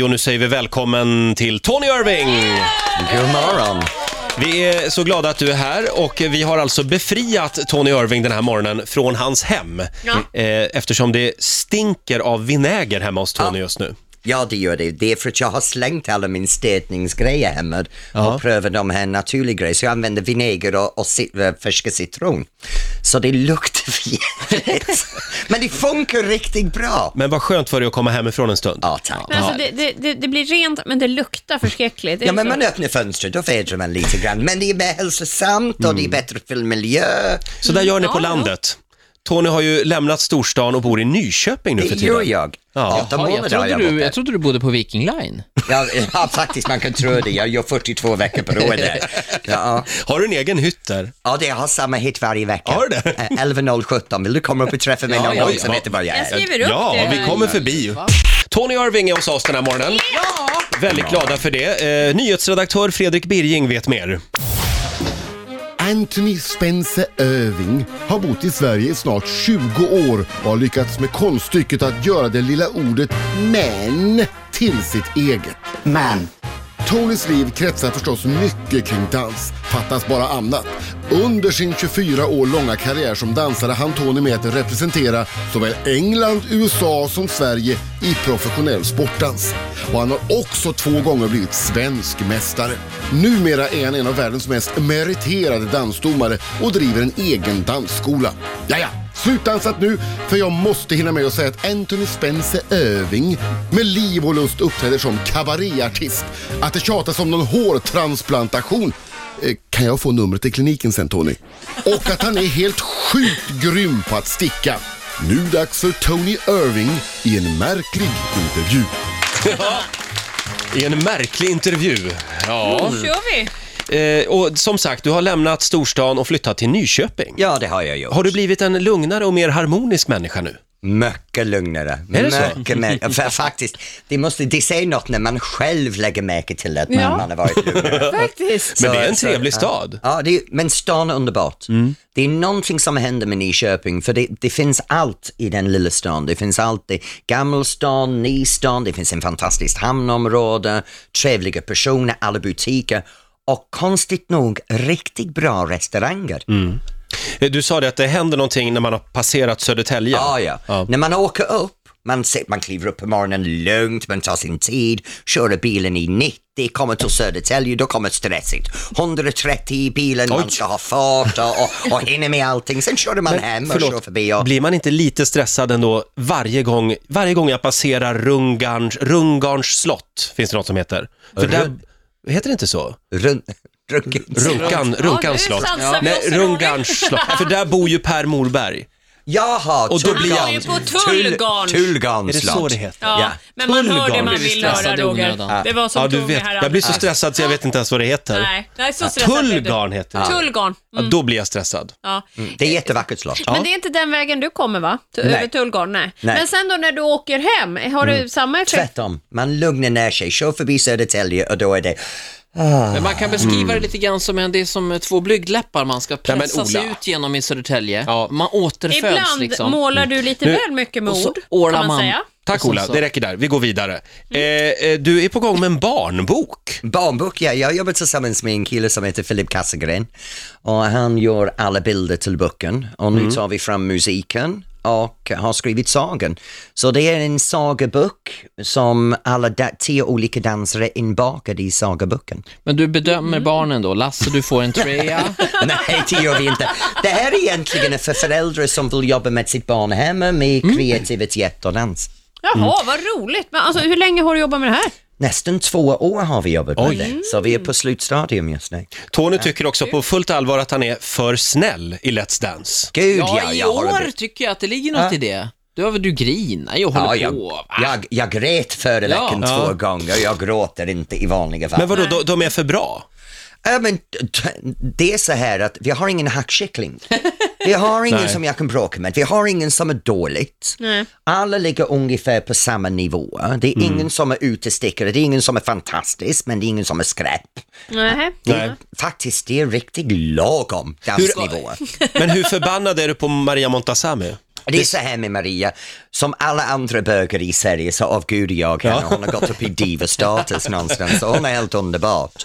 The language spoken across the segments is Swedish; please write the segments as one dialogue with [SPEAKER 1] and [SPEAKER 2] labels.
[SPEAKER 1] Jo, nu säger vi välkommen till Tony Irving!
[SPEAKER 2] God morgon.
[SPEAKER 1] Vi är så glada att du är här och vi har alltså befriat Tony Irving den här morgonen från hans hem.
[SPEAKER 3] Ja.
[SPEAKER 1] Eh, Eftersom det stinker av vinäger hemma hos Tony
[SPEAKER 2] Ja.
[SPEAKER 1] just nu.
[SPEAKER 2] Ja, det gör det. Det är för att jag har slängt alla min städningsgrejer hemma och prövat de här naturliga grejerna. Så jag använder vinäger och, och cit- eh, färska citron. Så det luktar jävligt. Men det funkar riktigt bra.
[SPEAKER 1] Men vad skönt för dig att komma hemifrån en stund.
[SPEAKER 2] Ja, tack.
[SPEAKER 3] Men alltså, det, det, det, det blir rent, men det luktar förskräckligt.
[SPEAKER 2] Ja, men man öppnar fönstret och vädrar man lite grann. Men det är mer hälsosamt och det är bättre för miljö.
[SPEAKER 1] Så där gör ni på
[SPEAKER 3] Ja, ja.
[SPEAKER 1] landet. Tony har ju lämnat storstan och bor i Nyköping nu för
[SPEAKER 2] Det gör
[SPEAKER 1] tiden.
[SPEAKER 2] jag.
[SPEAKER 1] Ja.
[SPEAKER 2] Åtta
[SPEAKER 4] Ja,
[SPEAKER 2] månader
[SPEAKER 4] jag,
[SPEAKER 2] har
[SPEAKER 4] trodde
[SPEAKER 2] jag
[SPEAKER 4] du,
[SPEAKER 2] bott
[SPEAKER 4] jag
[SPEAKER 2] där.
[SPEAKER 4] trodde du bodde på Viking Line.
[SPEAKER 2] Ja, ja, faktiskt, man kan tro det. Jag gör 42 veckor per år där. Ja.
[SPEAKER 1] Har du en egen hytt där?
[SPEAKER 2] Ja, det jag har samma hit varje vecka.
[SPEAKER 1] Har du det?
[SPEAKER 2] Eh, 11.017. Vill du komma upp och träffa mig
[SPEAKER 4] Ja,
[SPEAKER 2] någon
[SPEAKER 4] ja,
[SPEAKER 2] gång
[SPEAKER 4] ja.
[SPEAKER 2] så vet du var jag
[SPEAKER 3] Jag
[SPEAKER 2] är?
[SPEAKER 3] skriver upp det.
[SPEAKER 1] Ja, vi kommer förbi. Tony Irving är hos oss den här morgonen. Väldigt glada för det. Eh, Nyhetsredaktör Fredrik Birging vet mer.
[SPEAKER 5] Anthony Spencer Irving har bott i Sverige i snart 20 år och har lyckats med konststycket att göra det lilla ordet men till sitt eget.
[SPEAKER 6] Man,
[SPEAKER 5] Tonys liv kretsar förstås mycket kring dans, fattas bara annat. Under sin 24 år långa karriär som dansare hann Tony med att representera såväl England, USA som Sverige i professionell sportdans. Och han har också två gånger blivit svensk mästare. Numera är han en av världens mest meriterade dansdomare och driver en egen dansskola. Jaja, Slutdansat nu, för jag måste hinna med att säga att Anthony Spencer Öving med liv och lust uppträder som kabaréartist. Att det tjatas om någon hårtransplantation. Eh, Kan jag få numret till kliniken sen Tony? Och att han är helt sjukt grym på att sticka. Nu dags för Tony Irving i en märklig intervju.
[SPEAKER 1] I en märklig intervju. Ja.
[SPEAKER 3] Nu kör vi.
[SPEAKER 1] Eh, och som sagt, du har lämnat storstan och flyttat till Nyköping.
[SPEAKER 2] Ja, det har jag gjort.
[SPEAKER 1] Har du blivit en lugnare och mer harmonisk människa nu?
[SPEAKER 2] Mycket lugnare.
[SPEAKER 1] Är det så?
[SPEAKER 2] Mycket mer. För faktiskt, det, måste, det säger något när man själv lägger märke till att man,
[SPEAKER 3] Ja.
[SPEAKER 2] man har varit lugnare.
[SPEAKER 3] Faktiskt.
[SPEAKER 1] Men det är
[SPEAKER 2] Så-
[SPEAKER 1] en
[SPEAKER 2] så-
[SPEAKER 1] trevlig
[SPEAKER 2] ja.
[SPEAKER 1] stad. Mm.
[SPEAKER 2] Ja, det är, men stan är underbart. Det är någonting som händer med Nyköping, för det, det finns allt i den lilla stan. Det finns allt i Gammelstan, Nystan, det finns en fantastiskt hamnområde, trevliga personer, alla butiker och konstigt nog riktigt bra restauranger.
[SPEAKER 1] Eh, Du sa det att det händer någonting när man har passerat Södertälje.
[SPEAKER 2] Ja, ja. När man åker upp, man, ser, man kliver upp på morgonen lugnt, man tar sin tid, kör bilen i 90, kommer till Södertälje, då kommer stressigt. 130 i bilen, man ska ha fart och, och, och hinner med allting. Sen kör man hem och kör förbi. Och,
[SPEAKER 1] blir man inte lite stressad ändå varje gång, varje gång jag passerar Rungarns, Rungarns slott, finns det något som heter? För där, heter det inte så?
[SPEAKER 2] run, run,
[SPEAKER 1] Runkan, Runkarns
[SPEAKER 3] Ja, nu
[SPEAKER 1] slott.
[SPEAKER 3] chansar vi
[SPEAKER 1] Nej,
[SPEAKER 3] oss, Roger.
[SPEAKER 1] Rungarns slott. För där bor ju Per Morberg.
[SPEAKER 2] Jaha,
[SPEAKER 1] Och då blir jag-
[SPEAKER 2] Tullgarn.
[SPEAKER 1] Han är
[SPEAKER 3] på Tullgarn.
[SPEAKER 2] Tull- Tullgarn
[SPEAKER 1] Är det så
[SPEAKER 2] slott.
[SPEAKER 1] det heter?
[SPEAKER 3] Ja,
[SPEAKER 2] Ja.
[SPEAKER 3] men man hör det
[SPEAKER 1] Tullgarn.
[SPEAKER 3] man
[SPEAKER 1] Jag blir
[SPEAKER 3] vill höra,
[SPEAKER 4] stressad i
[SPEAKER 3] Roger.
[SPEAKER 4] onödan.
[SPEAKER 3] Det var som
[SPEAKER 1] Ja, du
[SPEAKER 3] Tony
[SPEAKER 1] vet.
[SPEAKER 3] här
[SPEAKER 1] Jag blir så
[SPEAKER 3] alldeles.
[SPEAKER 1] stressad så jag vet inte ens vad det heter.
[SPEAKER 3] Nej, nej, så stressad blev du.
[SPEAKER 1] Tullgarn heter det.
[SPEAKER 3] Tullgarn.
[SPEAKER 1] Ja, då blir jag stressad.
[SPEAKER 3] Ja.
[SPEAKER 2] Mm, Det är ett jättevackert slott.
[SPEAKER 3] Men det är inte den vägen du kommer va? Tu-
[SPEAKER 2] Nej.
[SPEAKER 3] Över Tullgarn? Nej.
[SPEAKER 2] Nej.
[SPEAKER 3] Men sen då när du åker hem, har
[SPEAKER 1] Mm.
[SPEAKER 3] du samma effekt?
[SPEAKER 2] Tvärtom, man lugnar ner sig, kör förbi Södertälje och då är det
[SPEAKER 4] Men man kan beskriva det lite grann som en, det är som två blygdläppar man ska
[SPEAKER 1] men
[SPEAKER 4] pressa sig
[SPEAKER 1] Ola.
[SPEAKER 4] ut genom i Södertälje. Man återföds
[SPEAKER 3] Ibland
[SPEAKER 4] liksom.
[SPEAKER 3] målar du lite väl mycket med
[SPEAKER 4] och så
[SPEAKER 3] ord,
[SPEAKER 4] ålar
[SPEAKER 3] kan man
[SPEAKER 4] man.
[SPEAKER 3] säga.
[SPEAKER 1] Tack
[SPEAKER 4] Och sen
[SPEAKER 1] Ola,
[SPEAKER 4] Alltså så-
[SPEAKER 1] det räcker där. Vi går vidare.
[SPEAKER 3] Mm.
[SPEAKER 1] Eh, eh, du är på gång med en barnbok.
[SPEAKER 2] Barnbok, ja. Jag jobbar tillsammans med en kille som heter Filip Kassegren och han gör alla bilder till boken och
[SPEAKER 4] Mm.
[SPEAKER 2] nu tar vi fram musiken och har skrivit sagan. Så det är en sagabok som alla da- tio olika dansare inbakade i sagaboken.
[SPEAKER 4] Men du
[SPEAKER 3] Mm.
[SPEAKER 4] bedömer barnen då. Lasse, du får en trea.
[SPEAKER 2] Nej, det gör vi inte. Det här är egentligen för föräldrar som vill jobba med sitt barn hemma med
[SPEAKER 4] Mm.
[SPEAKER 2] kreativitet och dans.
[SPEAKER 3] Jaha,
[SPEAKER 1] Mm.
[SPEAKER 3] vad roligt. Men alltså, hur länge har du jobbat med det här?
[SPEAKER 2] Nästan två år har vi jobbat med det, så vi är på slutstadium just nu.
[SPEAKER 1] Tony tycker också
[SPEAKER 3] Mm.
[SPEAKER 1] på fullt allvar att han är för snäll i Let's Dance.
[SPEAKER 2] Gud ja,
[SPEAKER 4] ja, i
[SPEAKER 2] jag har
[SPEAKER 4] år tycker jag att det ligger något i det. Du, du grinar ju och håller
[SPEAKER 2] Ja, jag,
[SPEAKER 4] på. va?
[SPEAKER 2] jag, jag grät före
[SPEAKER 4] Ja.
[SPEAKER 2] veckan två gånger, jag gråter inte i vanliga fall.
[SPEAKER 1] Men vadå, de, de är för bra?
[SPEAKER 2] Ja, men t- det är så här att vi har ingen hackkyckling. Vi har ingen
[SPEAKER 1] Nej.
[SPEAKER 2] som jag kan bråka med, vi har ingen som är dåligt.
[SPEAKER 3] Nej.
[SPEAKER 2] Alla ligger ungefär på samma nivå. Det
[SPEAKER 4] Mm.
[SPEAKER 2] är ingen som är utestickare, det är ingen som är fantastisk, men det är ingen som är skräp.
[SPEAKER 3] Nej.
[SPEAKER 1] Nej.
[SPEAKER 2] Faktiskt, det är riktigt lagom dansnivå.
[SPEAKER 1] Men hur förbannad är du på Maria Montazami?
[SPEAKER 2] Det är så här med Maria, som alla andra bögar i Sverige så avgudar jag henne. Hon har gått upp i diva-status någonstans så hon är helt underbart.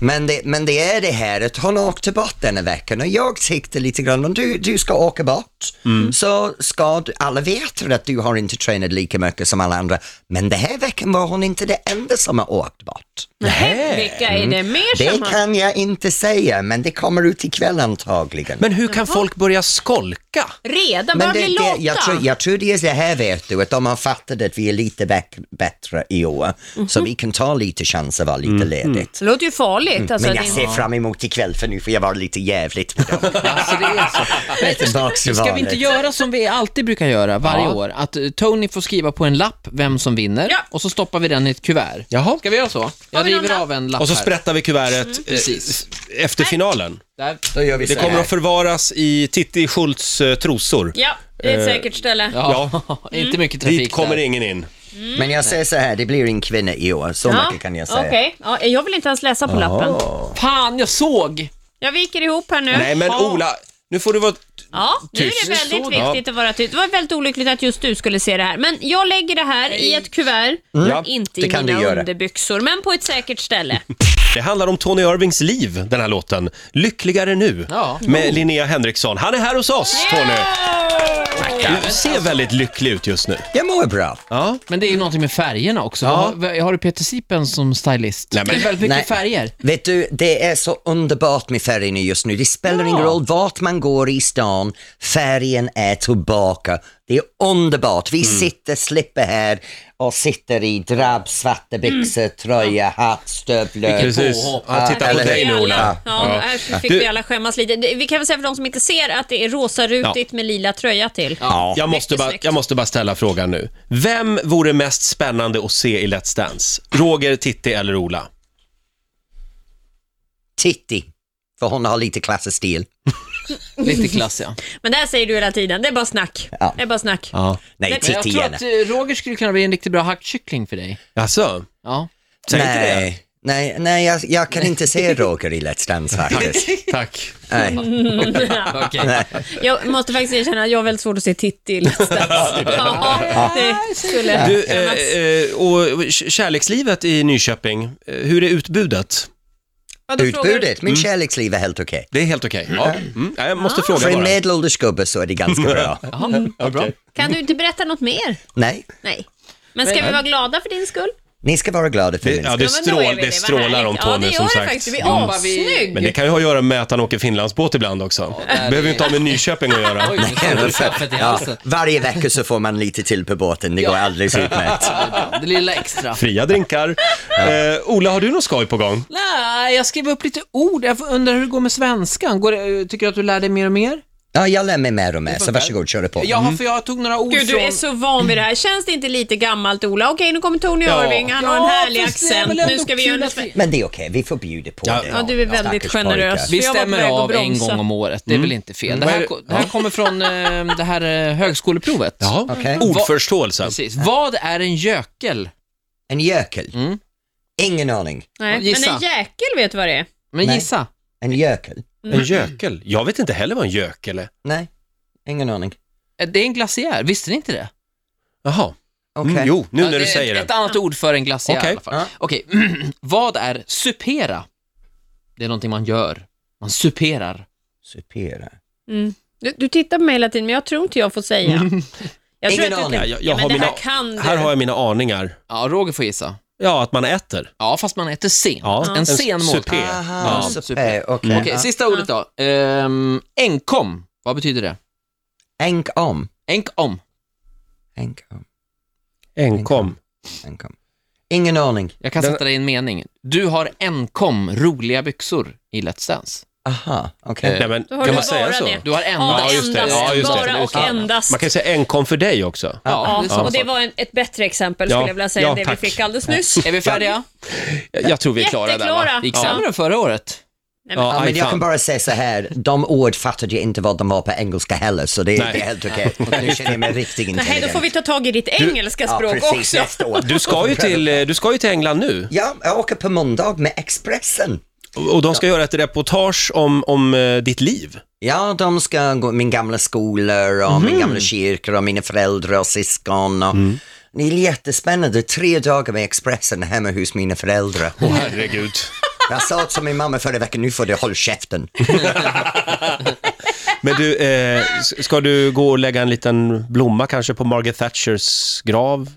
[SPEAKER 2] Men, det, men det är det här att hon åkte bort denna veckan och jag tyckte lite grann om du, du ska åka bort
[SPEAKER 3] Mm.
[SPEAKER 2] så ska du, alla veta att du har inte tränat lika mycket som alla andra. Men den här veckan var hon inte det enda som har åkt bort.
[SPEAKER 3] Nej, vilka är det mer
[SPEAKER 2] Det
[SPEAKER 3] som har...
[SPEAKER 2] kan jag inte säga men det kommer ut ikväll antagligen.
[SPEAKER 1] Men hur kan folk börja skolka?
[SPEAKER 3] Redan
[SPEAKER 2] Men det,
[SPEAKER 3] börjar bli lata.
[SPEAKER 2] det, jag, tror, jag tror det är så här vet du, att de har fattat att vi är lite bäck, bättre i år, så
[SPEAKER 4] Mhm.
[SPEAKER 2] vi kan ta lite chanser och vara lite ledigt.
[SPEAKER 3] Det låter ju farligt. Alltså,
[SPEAKER 2] Mm. Men
[SPEAKER 3] det
[SPEAKER 2] jag
[SPEAKER 3] är-
[SPEAKER 2] ser fram emot ikväll för nu får jag vara lite jävligt med dem.
[SPEAKER 4] Alltså, det är så.
[SPEAKER 2] Lite tillbaks till
[SPEAKER 4] Ska vi inte
[SPEAKER 2] valet.
[SPEAKER 4] göra som vi alltid brukar göra varje
[SPEAKER 2] Ja.
[SPEAKER 4] år? Att eh, Tony får skriva på en lapp vem som vinner
[SPEAKER 3] Ja.
[SPEAKER 4] och så stoppar vi den i ett kuvert.
[SPEAKER 1] Jaha.
[SPEAKER 4] Ska vi göra så? Jag
[SPEAKER 3] vi någon
[SPEAKER 4] river
[SPEAKER 3] lapp?
[SPEAKER 4] av en lapp
[SPEAKER 1] Och så
[SPEAKER 4] här.
[SPEAKER 1] sprättar vi kuvertet
[SPEAKER 3] Mm.
[SPEAKER 1] eh,
[SPEAKER 4] precis.
[SPEAKER 1] efter finalen.
[SPEAKER 4] Där.
[SPEAKER 2] Då gör vi
[SPEAKER 1] Det
[SPEAKER 2] så
[SPEAKER 1] kommer
[SPEAKER 2] här.
[SPEAKER 1] att förvaras i Titti Schultz eh, trosor.
[SPEAKER 3] Ja, det är
[SPEAKER 2] Eh,
[SPEAKER 3] ett säkert ställe.
[SPEAKER 4] Ja, inte mycket trafik
[SPEAKER 1] Mm. Dit kommer
[SPEAKER 4] där.
[SPEAKER 1] ingen in.
[SPEAKER 2] Men jag säger så här, det blir en kvinna i år, så mycket kan jag säga.
[SPEAKER 3] okej. Ja, jag vill inte ens läsa på lappen.
[SPEAKER 4] Fan, jag såg!
[SPEAKER 3] Jag viker ihop här nu.
[SPEAKER 1] Nej men Ola, nu får du vara...
[SPEAKER 3] Ja, nu är
[SPEAKER 1] Tyst.
[SPEAKER 3] det väldigt
[SPEAKER 1] Ja.
[SPEAKER 3] viktigt att vara tyst. Det var väldigt olyckligt att just du skulle se det här. Men jag lägger det här i ett kuvert,
[SPEAKER 1] Ja,
[SPEAKER 3] inte
[SPEAKER 2] Mm. det
[SPEAKER 3] i
[SPEAKER 2] kan
[SPEAKER 3] mina
[SPEAKER 2] du göra.
[SPEAKER 3] underbyxor, men på ett säkert ställe.
[SPEAKER 1] Det handlar om Tony Irvings liv, den här låten. Lyckligare nu,
[SPEAKER 4] Ja.
[SPEAKER 1] med Linnea Henriksson. Han är här hos oss, Tony. Du ser väldigt lycklig ut just nu.
[SPEAKER 2] Jag mår bra.
[SPEAKER 1] Ja.
[SPEAKER 4] Men det är ju någonting med färgerna också. Har, har du Peter Sipen som stylist?
[SPEAKER 1] Nej, men-
[SPEAKER 4] Det är väldigt mycket
[SPEAKER 2] Nej.
[SPEAKER 4] färger.
[SPEAKER 2] Vet du, det är så underbart med färgerna just nu. Det spelar ingen roll vart man går i stan, färgen är tillbaka. Det är underbart. Vi sitter, slipper här och sitter i drabb, svarta byxor, tröja, hatt, stövlar.
[SPEAKER 1] Precis.
[SPEAKER 4] påhopp.
[SPEAKER 1] Jag tittar på
[SPEAKER 2] Eller
[SPEAKER 1] dig
[SPEAKER 2] hur,
[SPEAKER 1] nu, Ola.
[SPEAKER 3] Ja,
[SPEAKER 1] Ja.
[SPEAKER 3] här fick
[SPEAKER 1] Du-
[SPEAKER 3] vi alla skämmas lite. Det- Vi kan väl säga för de som inte ser att det är rosarutigt med lila tröja till.
[SPEAKER 2] Ja.
[SPEAKER 1] Jag måste,
[SPEAKER 3] Mycket
[SPEAKER 1] bara,
[SPEAKER 3] snyggt.
[SPEAKER 1] jag måste bara ställa frågan nu. Vem vore mest spännande att se i Let's Dance? Roger, Titti eller Ola?
[SPEAKER 2] Titti, för hon har lite klass och stil.
[SPEAKER 4] Lite klassiga.
[SPEAKER 3] Men det här säger du hela tiden, det är bara snack.
[SPEAKER 2] Ja.
[SPEAKER 3] Det är bara snack.
[SPEAKER 1] Ja.
[SPEAKER 2] Nej,
[SPEAKER 4] Men jag
[SPEAKER 2] Titti
[SPEAKER 4] tror
[SPEAKER 2] gärna.
[SPEAKER 4] att eh, Roger skulle kunna bli en riktigt bra hackkyckling för dig.
[SPEAKER 1] Alltså,
[SPEAKER 4] Ja.
[SPEAKER 1] säg inte det.
[SPEAKER 2] Nej, nej, nej jag, jag kan inte se Roger i Let's Dance faktiskt.
[SPEAKER 1] Tack.
[SPEAKER 2] nej.
[SPEAKER 4] Okej.
[SPEAKER 3] Jag måste faktiskt erkänna att jag har väldigt svårt att se Titti i Let's Dance. Ja, det skulle
[SPEAKER 1] Du,
[SPEAKER 3] kännas.
[SPEAKER 1] eh, eh, och k- kärlekslivet i Nyköping, eh, hur är utbudet?
[SPEAKER 3] Ja, då frågar du-
[SPEAKER 2] Utbudet, min kärleksliv är helt okej.
[SPEAKER 1] Det är helt okej. Ja. Mm. ja, Jag måste
[SPEAKER 2] För
[SPEAKER 1] fråga
[SPEAKER 2] en
[SPEAKER 1] bara.
[SPEAKER 2] medelålders gubbe så är det ganska bra.
[SPEAKER 4] Ja, bra.
[SPEAKER 3] Kan du inte berätta något mer?
[SPEAKER 2] Nej.
[SPEAKER 3] Nej. Men ska vi vara glada för din skull?
[SPEAKER 2] Ni ska vara glada för
[SPEAKER 1] Det,
[SPEAKER 2] min
[SPEAKER 1] ja,
[SPEAKER 2] skull.
[SPEAKER 1] det,
[SPEAKER 3] men då är
[SPEAKER 1] strål,
[SPEAKER 3] vi
[SPEAKER 1] det
[SPEAKER 3] vad
[SPEAKER 1] strålar
[SPEAKER 3] härligt.
[SPEAKER 1] om Tony
[SPEAKER 3] Ja, det gör
[SPEAKER 1] som
[SPEAKER 3] det
[SPEAKER 1] sagt.
[SPEAKER 3] faktiskt. Vi
[SPEAKER 1] Mm.
[SPEAKER 3] är assnygg.
[SPEAKER 1] Men det kan ju ha att göra med att han åker finlandsbåt ibland också. Det behöver ju inte ha med Nyköping att göra.
[SPEAKER 4] Oj, nu kommer det kaffet i
[SPEAKER 2] Ja,
[SPEAKER 4] halsen.
[SPEAKER 2] varje vecka så får man lite till på båten, det går alldeles utmärkt.
[SPEAKER 4] Det lilla extra.
[SPEAKER 1] Fria drinkar. Eh, Ola, har du något skoj på gång?
[SPEAKER 4] Nej, jag skrev upp lite ord. Jag undrar hur det går med svenskan. Går det, eh, tycker du att du lär dig mer och mer?
[SPEAKER 1] Mm.
[SPEAKER 2] Ja, jag lär mig mer och mer, så varsågod, kör på. Mm.
[SPEAKER 4] Ja, för jag tog några ord
[SPEAKER 3] Gud, du
[SPEAKER 4] från...
[SPEAKER 3] är så van vid det här. Känns det inte lite gammalt, Ola? Okej, nu kommer Tony
[SPEAKER 1] Ja.
[SPEAKER 3] Irving. Han har en
[SPEAKER 4] Ja,
[SPEAKER 3] härlig
[SPEAKER 4] fast det är
[SPEAKER 3] accent.
[SPEAKER 4] väl ändå
[SPEAKER 3] Nu ska vi göra
[SPEAKER 4] kul
[SPEAKER 3] något...
[SPEAKER 4] att vi-
[SPEAKER 2] Men det är okej, vi får bjuda på
[SPEAKER 1] Ja,
[SPEAKER 2] det.
[SPEAKER 1] ja,
[SPEAKER 3] du är väldigt
[SPEAKER 2] Stackars pojkar.
[SPEAKER 3] generös.
[SPEAKER 4] Vi
[SPEAKER 3] Jag var på
[SPEAKER 4] stämmer
[SPEAKER 3] väg att
[SPEAKER 4] av en
[SPEAKER 3] bromsa.
[SPEAKER 4] gång om året, det är väl inte fel.
[SPEAKER 1] Mm.
[SPEAKER 4] Det
[SPEAKER 1] Vad är
[SPEAKER 4] här,
[SPEAKER 1] det-
[SPEAKER 4] ko- det här kommer från eh, det här eh, högskoleprovet.
[SPEAKER 3] Mm.
[SPEAKER 2] Okej.
[SPEAKER 1] Mm. Ordförståelse.
[SPEAKER 4] Precis. Vad är en gökel?
[SPEAKER 2] En gökel? Ingen aning.
[SPEAKER 3] Nej,
[SPEAKER 4] Gissa.
[SPEAKER 3] men en jäkel vet vad det är.
[SPEAKER 4] Men
[SPEAKER 2] Nej.
[SPEAKER 4] gissa.
[SPEAKER 2] En gökel?
[SPEAKER 1] En gökel. Jag vet inte heller vad en gökel är.
[SPEAKER 2] Nej, ingen aning.
[SPEAKER 4] Det är en glaciär, visste ni inte det?
[SPEAKER 1] Jaha.
[SPEAKER 2] Okej.
[SPEAKER 1] Mm, jo, nu
[SPEAKER 4] Ja,
[SPEAKER 1] när du
[SPEAKER 4] det är
[SPEAKER 1] säger
[SPEAKER 4] ett, ett
[SPEAKER 1] det.
[SPEAKER 4] annat ord för en glaciär
[SPEAKER 1] Okej.
[SPEAKER 4] i alla fall. Okej, vad är supera? Det är någonting man gör. Man superar.
[SPEAKER 2] Supera.
[SPEAKER 3] Du, du tittar på mig hela tiden, men jag tror inte jag får säga. Jag tror
[SPEAKER 2] Ingen
[SPEAKER 3] att du
[SPEAKER 2] aning.
[SPEAKER 1] Mm. Ja, jag,
[SPEAKER 3] kan... Ja,
[SPEAKER 1] jag
[SPEAKER 3] men
[SPEAKER 1] har
[SPEAKER 3] det
[SPEAKER 1] mina,
[SPEAKER 3] här kan du.
[SPEAKER 1] här har jag mina aningar.
[SPEAKER 4] Ja, Roger får gissa.
[SPEAKER 1] Ja, att man äter.
[SPEAKER 4] Ja, fast man äter sent.
[SPEAKER 1] Ja.
[SPEAKER 4] En sen måltid.
[SPEAKER 1] supé.
[SPEAKER 2] Aha,
[SPEAKER 4] Ja,
[SPEAKER 2] supé,
[SPEAKER 4] super.
[SPEAKER 2] Ah, okej.
[SPEAKER 4] Okej, sista ordet då. Ehm, enkom. Vad betyder det?
[SPEAKER 2] Enk om.
[SPEAKER 4] Enkom.
[SPEAKER 2] Enk om.
[SPEAKER 1] Enkom.
[SPEAKER 2] Enk om. Ingen aning.
[SPEAKER 4] Jag kan
[SPEAKER 1] Den-
[SPEAKER 4] sätta dig i en mening. Du har enkom roliga byxor i Let's Dance.
[SPEAKER 2] Aha, okej.
[SPEAKER 1] Nej, men,
[SPEAKER 3] Då har
[SPEAKER 1] kan
[SPEAKER 3] du
[SPEAKER 1] man säga
[SPEAKER 3] bara
[SPEAKER 1] så?
[SPEAKER 3] det.
[SPEAKER 4] Du har
[SPEAKER 3] Ja,
[SPEAKER 4] endast.
[SPEAKER 1] Ja, just det.
[SPEAKER 3] endast,
[SPEAKER 1] Ja, just det.
[SPEAKER 3] bara och
[SPEAKER 4] Ja.
[SPEAKER 3] endast.
[SPEAKER 1] Man kan ju säga enkom för dig också.
[SPEAKER 4] Ja,
[SPEAKER 3] Ja,
[SPEAKER 4] det är samma
[SPEAKER 3] och det
[SPEAKER 4] sak.
[SPEAKER 3] var en, ett bättre exempel
[SPEAKER 1] Ja,
[SPEAKER 3] skulle jag vilja säga
[SPEAKER 1] ja,
[SPEAKER 3] än det
[SPEAKER 1] tack.
[SPEAKER 3] vi fick alldeles nyss.
[SPEAKER 4] Är vi färdiga?
[SPEAKER 1] Jag, jag tror vi är klara där va?
[SPEAKER 3] Jätteklara.
[SPEAKER 4] Det gick
[SPEAKER 3] Ja.
[SPEAKER 4] sämre än förra året.
[SPEAKER 3] Nej, men-
[SPEAKER 1] Ja,
[SPEAKER 2] Ja,
[SPEAKER 1] aj,
[SPEAKER 2] men jag
[SPEAKER 1] fan.
[SPEAKER 2] kan bara säga så här, de ord fattade jag inte vad de var på engelska heller, så det, det
[SPEAKER 1] Nej.
[SPEAKER 2] är helt okej. Nu känner jag mig riktigt
[SPEAKER 3] Nej,
[SPEAKER 2] intelligent.
[SPEAKER 3] då får vi ta tag i ditt engelska
[SPEAKER 2] ja,
[SPEAKER 3] språk
[SPEAKER 2] precis,
[SPEAKER 3] också.
[SPEAKER 2] Nästa år.
[SPEAKER 1] Du ska ju till, eh, du ska ju till England nu.
[SPEAKER 2] Ja, jag åker på måndag med Expressen.
[SPEAKER 1] Och och de ska göra ett reportage om, om eh, ditt liv.
[SPEAKER 2] Ja, de ska gå min gamla skola och
[SPEAKER 1] Mhm.
[SPEAKER 2] min gamla kyrka och mina föräldrar och syskon. Och
[SPEAKER 1] Mm.
[SPEAKER 2] Det är jättespännande, tre dagar med Expressen hemma hos mina föräldrar.
[SPEAKER 1] Åh herregud.
[SPEAKER 2] Jag sa till min mamma förra veckan, nu får du hålla käften.
[SPEAKER 1] Men du, eh, s- ska du gå och lägga en liten blomma kanske på Margaret Thatchers grav?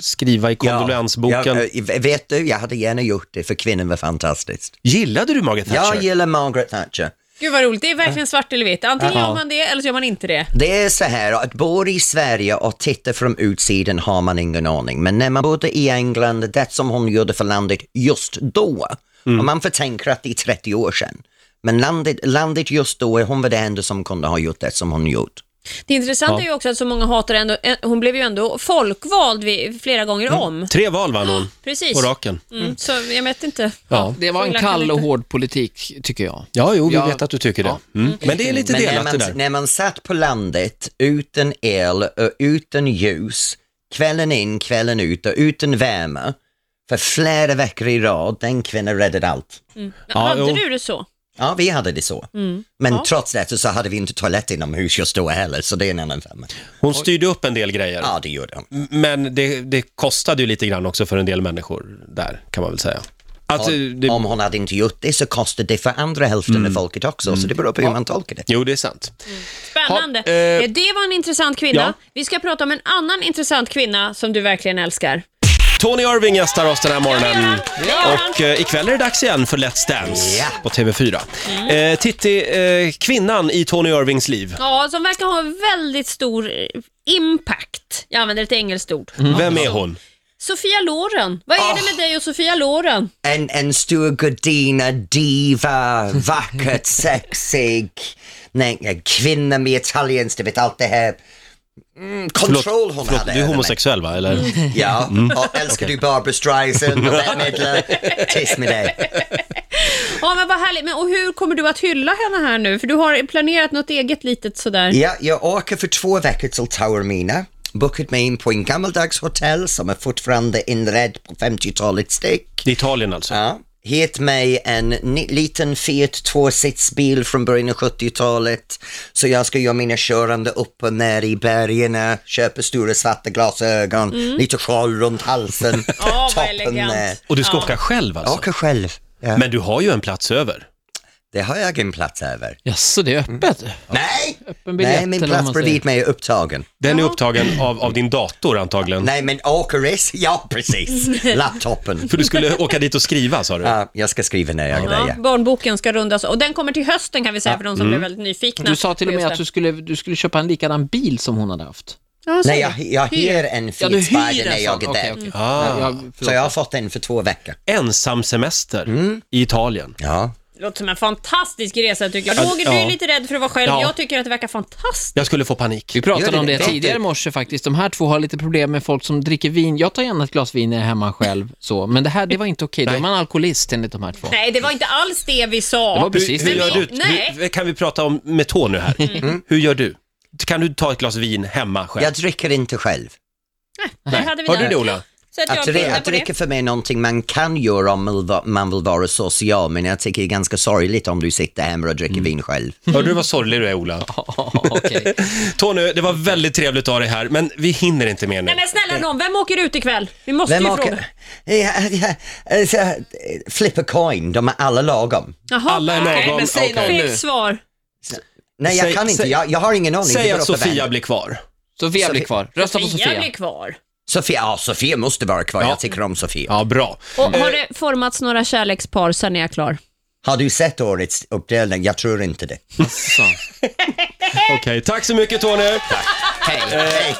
[SPEAKER 1] Skriva i kondoleansboken?
[SPEAKER 2] Ja, eh, vet du, jag hade gärna gjort det för kvinnan var fantastisk.
[SPEAKER 1] Gillade du Margaret Thatcher?
[SPEAKER 2] Jag gillar Margaret Thatcher.
[SPEAKER 3] Gud vad roligt, det är verkligen svart eller vitt. Antingen gör man det eller så gör man inte det.
[SPEAKER 2] Det är så här, att bo i Sverige och titta från utsidan har man ingen aning. Men när man bodde i England, det som hon gjorde för landet just då,
[SPEAKER 1] Mm.
[SPEAKER 2] och man förtänker att det är 30 år sedan, men landet, landet just då, hon var det enda som kunde ha gjort det som hon gjort.
[SPEAKER 3] Det intressanta är ju också att så många hatar ändå, eh, hon blev ju ändå folkvald vid, flera gånger
[SPEAKER 1] Mm.
[SPEAKER 3] om.
[SPEAKER 1] Tre val vann hon,
[SPEAKER 3] Precis.
[SPEAKER 1] på raken.
[SPEAKER 3] Mm, så jag vet inte.
[SPEAKER 1] Ja.
[SPEAKER 4] Det var en
[SPEAKER 3] Fåglar kan
[SPEAKER 4] kall och
[SPEAKER 3] lite.
[SPEAKER 4] hård politik, tycker jag.
[SPEAKER 1] Ja, jo, vi
[SPEAKER 4] Ja.
[SPEAKER 1] vet att du tycker det.
[SPEAKER 4] Ja.
[SPEAKER 1] Mm. Men det är lite
[SPEAKER 2] Men när
[SPEAKER 1] delat det
[SPEAKER 2] man,
[SPEAKER 1] där.
[SPEAKER 2] när man satt på landet utan el och utan ljus, kvällen in, kvällen ut och utan värme, för flera veckor i rad, den kvinnan räddade allt.
[SPEAKER 3] Men hade
[SPEAKER 1] jo.
[SPEAKER 3] du det så?
[SPEAKER 2] Ja, vi hade det så. Men trots det så hade vi inte toalett inomhus just då heller, så det är en annan femma.
[SPEAKER 1] Hon styrde upp en del grejer.
[SPEAKER 2] Ja, det gjorde de.
[SPEAKER 1] Men det, det kostade ju lite grann också för en del människor där, kan man väl säga. Att, eh, det, Mm.
[SPEAKER 2] Om hon hade inte gjort det så kostade det för andra hälften av folket också, så det beror på hur man tolkar det.
[SPEAKER 1] jo, det är sant.
[SPEAKER 3] Spännande.
[SPEAKER 1] Ha, eh.
[SPEAKER 3] Eh, Det var en intressant kvinna.
[SPEAKER 1] Ja.
[SPEAKER 3] Vi ska prata om en annan intressant kvinna som du verkligen älskar.
[SPEAKER 1] Tony Irving gästar oss den här morgonen.
[SPEAKER 3] Ja.
[SPEAKER 1] Och eh, ikväll är det dags igen för Let's Dance
[SPEAKER 2] Ja.
[SPEAKER 1] på TV4. Eh, Titti, eh, kvinnan i Tony Irvings liv,
[SPEAKER 3] Ja, som verkar ha en väldigt stor eh, impact. Jag använder ett engelskt ord.
[SPEAKER 1] vem är hon?
[SPEAKER 3] Sofia Loren. Vad är det med dig och Sofia Loren?
[SPEAKER 2] En, en stor gudinna, diva, vackert, sexig, nej, en kvinna med italienskt, du vet allt det här. Mm, kontroll hon
[SPEAKER 1] förlåt, du
[SPEAKER 2] hade
[SPEAKER 1] är
[SPEAKER 2] över mig.
[SPEAKER 1] homosexuell Mm. va? Eller?
[SPEAKER 2] Ja, och älskar du Barbra Streisand och Bette Midler? Tyst med dig.
[SPEAKER 3] Ja, men vad härligt. Men, och hur kommer du att hylla henne här nu? För du har planerat något eget litet sådär.
[SPEAKER 2] Ja, jag åker för två veckor till Taormina. Bokat mig in på en gammaldags hotell som är fortfarande inredd på 50-talets stick.
[SPEAKER 1] I Italien alltså?
[SPEAKER 2] Ja. Hit mig en ni- liten fet tvåsitsbil från början av 70-talet. Så jag ska göra mina körande upp och ner i bergen, köpa stora svarta glasögon,
[SPEAKER 4] Mm.
[SPEAKER 2] lite sjal runt halsen,
[SPEAKER 3] Ja, vad
[SPEAKER 2] toppen eh, ner.
[SPEAKER 3] elegant.
[SPEAKER 1] Och du ska åka själv
[SPEAKER 2] Jag
[SPEAKER 1] alltså?
[SPEAKER 2] åker själv. Ja.
[SPEAKER 1] Men du har ju en plats över.
[SPEAKER 2] Det har jag ingen plats över.
[SPEAKER 4] Jaså, det är öppet?
[SPEAKER 2] Nej!
[SPEAKER 4] Öppen biljett,
[SPEAKER 2] Nej, min
[SPEAKER 4] eller vad
[SPEAKER 2] plats
[SPEAKER 4] man säger.
[SPEAKER 2] bredvid mig är upptagen.
[SPEAKER 1] Den är upptagen av, av din dator antagligen.
[SPEAKER 2] Nej, men åker race? Ja, precis. Laptopen.
[SPEAKER 1] För du skulle åka dit och skriva sa du?
[SPEAKER 2] Ja, jag ska skriva ner jag
[SPEAKER 3] Ja,
[SPEAKER 2] det. Ja.
[SPEAKER 3] barnboken ska rundas och den kommer till hösten kan vi säga för de som blev väldigt nyfikna.
[SPEAKER 4] Du sa till och
[SPEAKER 3] på
[SPEAKER 4] med
[SPEAKER 3] just
[SPEAKER 4] att
[SPEAKER 3] det.
[SPEAKER 4] du skulle, du skulle köpa en likadan bil som hon hade haft.
[SPEAKER 3] Ja, så
[SPEAKER 2] Nej,
[SPEAKER 3] är det.
[SPEAKER 2] jag, jag hyr en
[SPEAKER 4] Ja, du
[SPEAKER 2] Fiat Spider när
[SPEAKER 4] hyr en sån.
[SPEAKER 2] jag är
[SPEAKER 4] Okej,
[SPEAKER 2] där.
[SPEAKER 4] okej.
[SPEAKER 1] Ah.
[SPEAKER 4] Ja, förlåt.
[SPEAKER 2] Så jag har fått en för två veckor.
[SPEAKER 1] Ensam semester i Italien.
[SPEAKER 2] Ja.
[SPEAKER 3] Det låter som en fantastisk resa tycker jag. Roger, du
[SPEAKER 1] Ja.
[SPEAKER 3] är lite rädd för att vara själv.
[SPEAKER 1] Ja.
[SPEAKER 3] Jag tycker att det verkar fantastiskt.
[SPEAKER 1] Jag skulle få panik.
[SPEAKER 4] Vi
[SPEAKER 2] Gör
[SPEAKER 4] pratade
[SPEAKER 2] det
[SPEAKER 4] om det
[SPEAKER 2] det?
[SPEAKER 4] tidigare i morse faktiskt. De här två har lite problem med folk som dricker vin. Jag tar gärna ett glas vin när jag är hemma själv, så. men det här det var inte okej. Då är man alkoholist enligt de här två.
[SPEAKER 3] Nej, det var inte alls det vi sa.
[SPEAKER 4] Det var precis
[SPEAKER 1] hur
[SPEAKER 4] det.
[SPEAKER 1] gör
[SPEAKER 4] jag sa.
[SPEAKER 1] du?
[SPEAKER 3] Nej.
[SPEAKER 1] Hur, kan vi prata om med Tony här? Hur gör du? Kan du ta ett glas vin hemma själv?
[SPEAKER 2] Jag dricker inte själv.
[SPEAKER 3] Där hade vi
[SPEAKER 1] Har
[SPEAKER 3] den.
[SPEAKER 1] du det Ola?
[SPEAKER 3] Så att jag
[SPEAKER 2] Att, dri-
[SPEAKER 3] pruttade
[SPEAKER 2] att
[SPEAKER 3] på det.
[SPEAKER 2] dricka för mig är någonting man kan göra om man vill va- man vill vara social, men jag tycker det är ganska sorgligt om du sitter hemma och dricker
[SPEAKER 3] Mm.
[SPEAKER 2] vin själv.
[SPEAKER 1] Hörde du vad sorglig du är Ola?
[SPEAKER 4] Okej.
[SPEAKER 1] Tony, det var väldigt trevligt att ha dig här, men vi hinner inte mer nu.
[SPEAKER 3] Nej men snälla någon, vem åker ut ikväll? Vi måste
[SPEAKER 2] Vem
[SPEAKER 3] ju
[SPEAKER 2] åker...
[SPEAKER 3] fråga.
[SPEAKER 2] Ja, ja, alltså, flip a coin, de är alla lagom.
[SPEAKER 3] Jaha,
[SPEAKER 1] Alla är
[SPEAKER 3] okej.
[SPEAKER 1] lagom.
[SPEAKER 4] men säg
[SPEAKER 1] Okej.
[SPEAKER 4] någon.
[SPEAKER 3] Fel svar.
[SPEAKER 2] Nej, jag
[SPEAKER 1] Säg-
[SPEAKER 2] kan inte,
[SPEAKER 1] säg-
[SPEAKER 2] jag, jag har ingen aning.
[SPEAKER 1] Säg
[SPEAKER 2] det beror
[SPEAKER 1] att
[SPEAKER 2] på vem.
[SPEAKER 1] Sofia blir kvar.
[SPEAKER 4] Sofia blir
[SPEAKER 2] Sofia-
[SPEAKER 4] kvar. Rösta på
[SPEAKER 3] Sofia
[SPEAKER 4] Sofia.
[SPEAKER 3] blir kvar.
[SPEAKER 2] Sofia, ja, Sofia måste vara kvar,
[SPEAKER 1] Ja.
[SPEAKER 2] jag tycker om Sofia.
[SPEAKER 1] Ja, bra.
[SPEAKER 3] Och har det formats några kärlekspar sen är jag klar?
[SPEAKER 2] Har du sett årets uppdelning? Jag tror inte det.
[SPEAKER 4] Så.
[SPEAKER 1] Okej, tack så mycket Tony.
[SPEAKER 4] Hej.
[SPEAKER 2] Hej.